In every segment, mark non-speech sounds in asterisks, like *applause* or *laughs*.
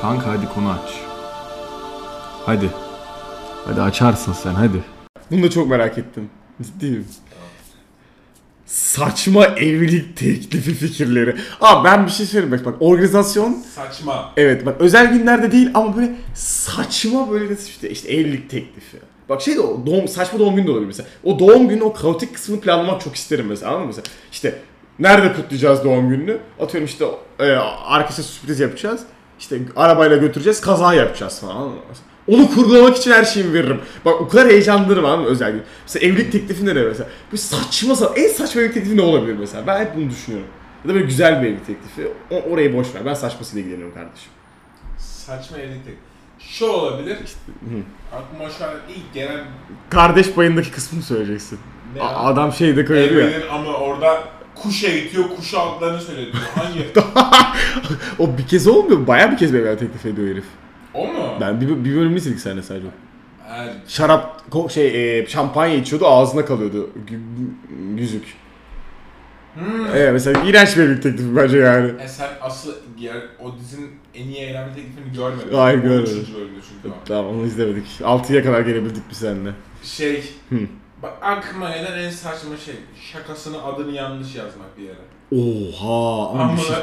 Kanka hadi konu aç. Hadi. Hadi açarsın sen hadi. Bunu da çok merak ettim. Ciddiyim. Saçma evlilik teklifi fikirleri. Abi ben bir şey söyleyeyim bak bak organizasyon Saçma. evet bak özel günlerde değil ama böyle saçma böyle nasıl işte, işte evlilik teklifi. Bak şey de o doğum, saçma doğum günü de olabilir mesela. O doğum günü o kaotik kısmını planlamak çok isterim mesela anladın mı? Mesela işte nerede kutlayacağız doğum gününü? Atıyorum işte e, arkadaşa sürpriz yapacağız. İşte arabayla götüreceğiz kaza yapacağız falan anladın mı? Mesela Onu kurgulamak için her şeyimi veririm. Bak o kadar heyecanlanırım anladın mı özel gün. Mesela evlilik teklifi ne mesela? Bu saçma sa- en saçma evlilik teklifi ne olabilir mesela? Ben hep bunu düşünüyorum. Ya da böyle güzel bir evlilik teklifi. O, orayı boş ver. Ben saçmasıyla ilgileniyorum kardeşim. Saçma evlilik tek. Şu olabilir. Aklıma şu an ilk gelen Kardeş payındaki kısmını söyleyeceksin. ne? A- adam şeyde koyuyor ya. Evlenir ama orada kuş eğitiyor, kuş altlarını söylüyor. Hangi? *laughs* O bir kez olmuyor mu? Bayağı bir kez bir evlilik teklif ediyor herif. o mu? Ben bir, bir bölümünü sildik sahne sadece. Ha, Şarap, ko- şey, e, şampanya içiyordu ağzına kalıyordu. Gü- Yüzük. Hmm. Evet mesela iğrenç bir evlilik teklifi bence yani. E sen asıl diğer o dizinin en iyi eğlenme teklifini görmedin. Hayır, O görmedim. Üçüncü bölümde çünkü o. Tamam onu izlemedik. 6'ya kadar gelebildik biz seninle. Şey, Hı. bak aklıma gelen en saçma şey, şakasını adını yanlış yazmak bir yere. Oha. ama Ama bir *laughs* şey-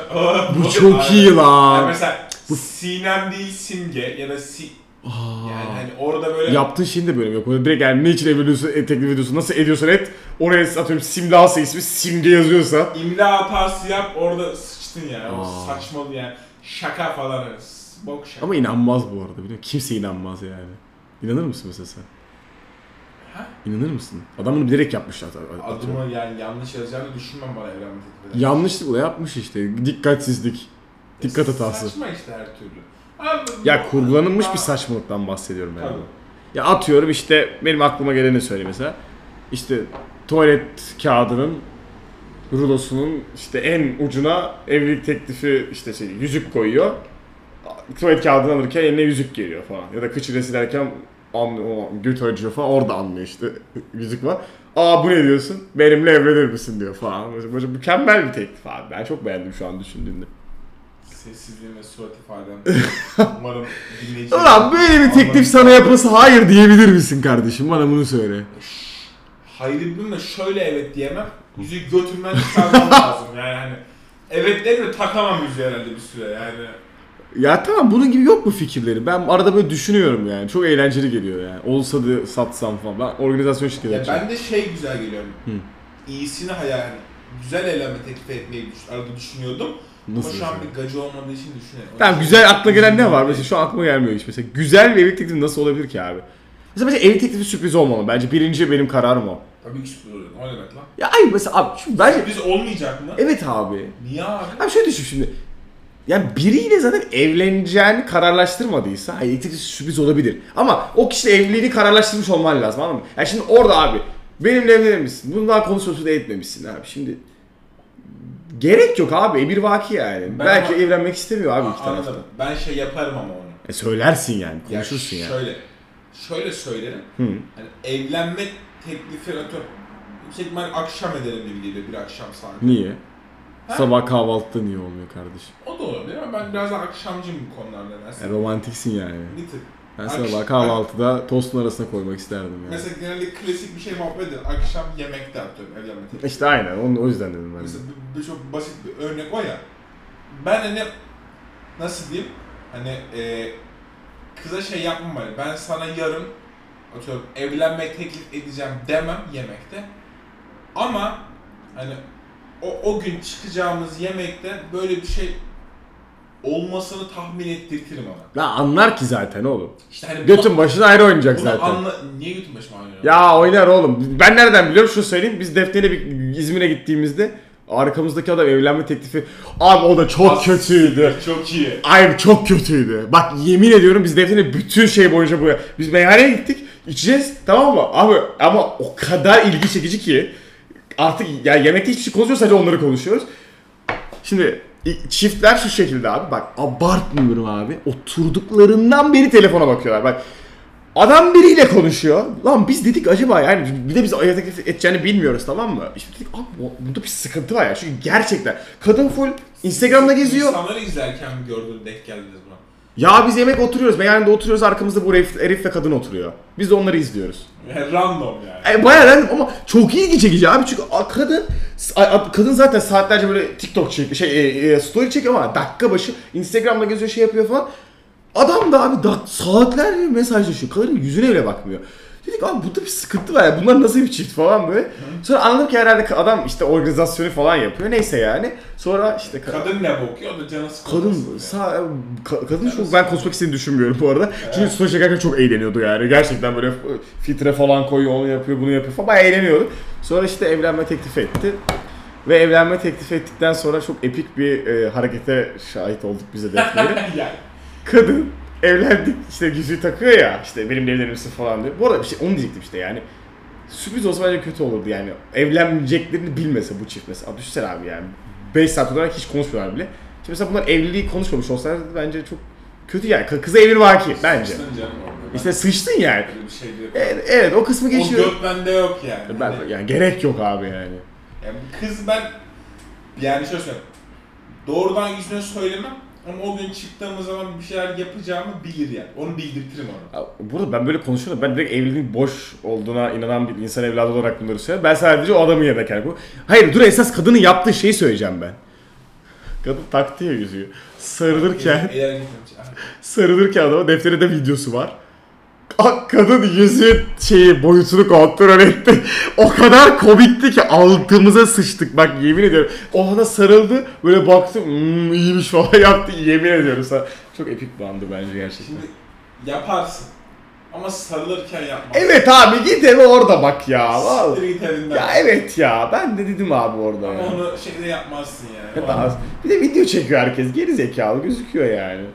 Bu çok iyi Yani lan. mesela Sinem değil Simge ya da Si... Aa. Yani hani orada böyle... Yaptığın şeyin de bölüm yok. Orada direkt yani ne için evleniyorsun, e, teklif ediyorsun, nasıl ediyorsun et. Oraya atıyorum simlası ismi simge yazıyorsa. İmla hatası yap orada sıçtın yani. O Aa. saçmalı yani. Şaka falan öyle. S- Bok şaka. Ama inanmaz bu arada biliyor musun? Kimse inanmaz yani. İnanır mısın mesela sen? Ha? İnanır mısın? Adam bunu bilerek yapmışlar tabii. Atıyorum. Adımı yani yanlış yazacağını düşünmem bana evlenme teklifleri. Yanlışlıkla yapmış işte. Dikkatsizlik. Dikkat hatası. Saçma işte her türlü. Abi, Ya kurgulanılmış Aa, bir saçmalıktan bahsediyorum yani. Tabii. Ya atıyorum işte benim aklıma geleni söyle mesela. İşte tuvalet kağıdının rulosunun işte en ucuna evlilik teklifi işte şey yüzük koyuyor. Tuvalet kağıdını alırken eline yüzük geliyor falan. Ya da kıçı resilerken anlıyor, o göt acıyor falan orada anlıyor işte *laughs* yüzük var. Aa bu ne diyorsun? Benimle evlenir misin diyor falan. Böyle, böyle mükemmel bir teklif abi. Ben çok beğendim şu an düşündüğümde. Sessizliğim ve surat ifadem. *laughs* Umarım dinleyici... Ulan böyle bir teklif sana yapılsa hayır diyebilir misin kardeşim? Bana bunu söyle. Hayır bilmem de şöyle evet diyemem. Yüzüğü götürmen çıkarmam lazım yani. Hani, evet derim de takamam yüzüğü herhalde bir süre yani. Ya tamam bunun gibi yok mu fikirleri? Ben arada böyle düşünüyorum yani. Çok eğlenceli geliyor yani. Olsa da satsam falan. Ben organizasyon şirketi Ya açıyorum. ben de şey güzel geliyor. İyisini hayal yani güzel eyleme teklif etmeyi düş, arada düşünüyordum. Nasıl Ama şu an düşünüyorsun? bir gacı olmadığı için düşünüyorum. Tamam güzel aklına gelen ne var? Mesela şu an aklıma gelmiyor hiç. Mesela güzel bir evlilik teklifi nasıl olabilir ki abi? Mesela bence evlilik teklifi sürpriz olmamalı. Bence birinci benim kararım o. Tabii ki sürpriz oluyor. O ne demek lan? Ya ay mesela abi şu bence... Sürpriz olmayacak mı? Evet abi. Niye abi? Abi şöyle düşün şimdi. Yani biriyle zaten evleneceğini kararlaştırmadıysa hani ilk sürpriz olabilir. Ama o kişiyle evliliğini kararlaştırmış olman lazım anladın mı? Yani şimdi orada abi benimle evlenir misin? Bunu daha konuşması da etmemişsin abi. Şimdi gerek yok abi. Emir vaki yani. Ben Belki ama- evlenmek istemiyor abi iki tarafta. Anladım. Ben şey yaparım ama onu. E söylersin yani. Ya Konuşursun yani. Şöyle. Şöyle söylerim. Hı. Hani evlenme teklifi atıyorum. Yüksek ihtimal akşam ederim gibi geliyor bir akşam saati. Niye? Ha? Sabah kahvaltıda niye olmuyor kardeşim? O da olabilir ama ben biraz daha akşamcıyım bu konularda E, mesela. romantiksin yani. Bir tık. Ben Akş- sabah kahvaltıda tostun arasına koymak isterdim yani. Mesela genelde klasik bir şey muhabbet ediyor. Akşam yemekte atıyorum evlenme teklifi. İşte aynen. Onu, o yüzden dedim ben. de. Mesela bir, bir çok basit bir örnek o ya. Ben hani nasıl diyeyim hani e, kıza şey yapmam hani ben sana yarın atıyorum evlenme teklif edeceğim demem yemekte. Ama hani o, o gün çıkacağımız yemekte böyle bir şey olmasını tahmin ettirtirim ama. La anlar ki zaten oğlum. İşte hani Götün başına ayrı bunu, oynayacak bunu zaten. anla... Niye götün başıma oynuyor? Ya oynar oğlum. Ben nereden biliyorum şunu söyleyeyim. Biz Defne'yle bir İzmir'e gittiğimizde arkamızdaki adam evlenme teklifi. Abi o da çok As- kötüydü. Çok iyi. Ay çok kötüydü. Bak yemin ediyorum biz Defne'yle bütün şey boyunca bu. Biz meyhaneye gittik. içeceğiz tamam mı? Abi ama o kadar ilgi çekici ki artık ya yemekte hiçbir şey konuşmuyoruz sadece onları konuşuyoruz. Şimdi i- çiftler şu şekilde abi bak abartmıyorum abi. Oturduklarından beri telefona bakıyorlar. Bak Adam biriyle konuşuyor. Lan biz dedik acaba yani bir de biz aya teklif edeceğini bilmiyoruz tamam mı? İşte dedik abi bu- bunda bir sıkıntı var ya. Çünkü gerçekten kadın full Instagram'da geziyor. İnsanları izlerken mi gördün denk geldiniz buna? Ya biz yemek oturuyoruz. Meyanede oturuyoruz arkamızda bu herif, herif ve kadın oturuyor. Biz de onları izliyoruz. Yani Random yani. E, bayağı random ama çok ilgi çekici abi çünkü a- kadın a- a- kadın zaten saatlerce böyle TikTok çekiyor, şey e, e, story çekiyor ama dakika başı Instagram'da geziyor şey yapıyor falan. Adam da abi da, saatlerce mesajlaşıyor. Kadının yüzüne bile bakmıyor. Dedik abi burada bir sıkıntı var ya. Bunlar nasıl bir çift falan böyle. Sonra anladım ki herhalde adam işte organizasyonu falan yapıyor. Neyse yani. Sonra işte kadın Kadın ne bokuyor o da canı sıkılmasın Kadın yani. sağ ka- kadın çok ben konuşmak istediğini düşünmüyorum bu arada. Çünkü story çekerken çok eğleniyordu yani. Gerçekten böyle e, filtre falan koyuyor, onu yapıyor, bunu yapıyor falan bayağı eğleniyordu. Sonra işte evlenme teklif etti. Ve evlenme teklif ettikten sonra çok epik bir e, harekete şahit olduk bize de. etkileri. yani. Kadın evlendik işte yüzüğü takıyor ya işte benimle evlenir misin falan diyor. Bu arada bir şey onu diyecektim işte yani. Sürpriz olsa bence kötü olurdu yani. Evlenmeyeceklerini bilmese bu çift mesela. Düşünsene abi yani. 5 saat olarak hiç konuşmuyorlar bile. Şimdi mesela bunlar evliliği konuşmamış olsalardı bence çok kötü yani. Kı- Kıza evin var ki bence. Sıçtın canım orada. İşte sıçtın yani. Öyle bir şey değil. Evet, evet o kısmı O geçiyor. göt bende yok yani. Ben, Hani- yani gerek yok abi yani. Yani bu kız ben yani şöyle söyleyeyim. Doğrudan yüzüne söylemem ama o gün çıktığımız zaman bir şeyler yapacağımı bilir yani. Onu bildirtirim ona. Ya, Burada ben böyle konuşuyorum. Ben direkt evliliğin boş olduğuna inanan bir insan evladı olarak bunları söylüyorum. Ben sadece o adamın yerine kendim. Hayır dur esas kadının yaptığı şeyi söyleyeceğim ben. Kadın taktı ya yüzüğü. *laughs* Sarılırken, Eğer gitmemiş. Ah, sarılırken adama defteri de videosu var. Ka- Kadın yüzü şeyi boyutunu kontrol etti. *laughs* O kadar komikti ki altımıza sıçtık bak yemin ediyorum. O ona sarıldı böyle baktı "Hmm, iyiymiş *laughs* falan yaptı yemin ediyorum sana. Çok epik bir andı bence gerçekten. Şimdi yaparsın. Ama sarılırken yapmaz. Evet abi git eve orada bak ya. Vallahi. Siktir git evinden. Ya e- evet ya ben de dedim abi orada. Ama ya. onu şeyde yapmazsın yani. Ne daha- Bir de video çekiyor herkes geri zekalı gözüküyor yani.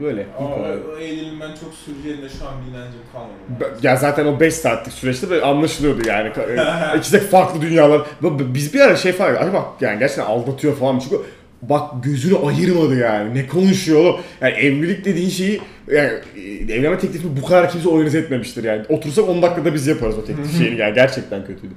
Böyle. Ama o, o eğilimin ben çok süreceğine de şu an bir inancım kalmadı. Be- Ya zaten o 5 saatlik süreçte böyle anlaşılıyordu yani. Ka- e, İkisi de farklı dünyalar. Bu- bu- Biz bir ara şey falan acaba yani gerçekten aldatıyor falan mı? Çünkü bak gözünü ayırmadı yani. Ne konuşuyor oğlum? Yani evlilik dediğin şeyi yani e, evlenme teklifini bu kadar kimse organize etmemiştir yani. Otursak 10 dakikada biz yaparız o teklif şeyini yani gerçekten kötüydü.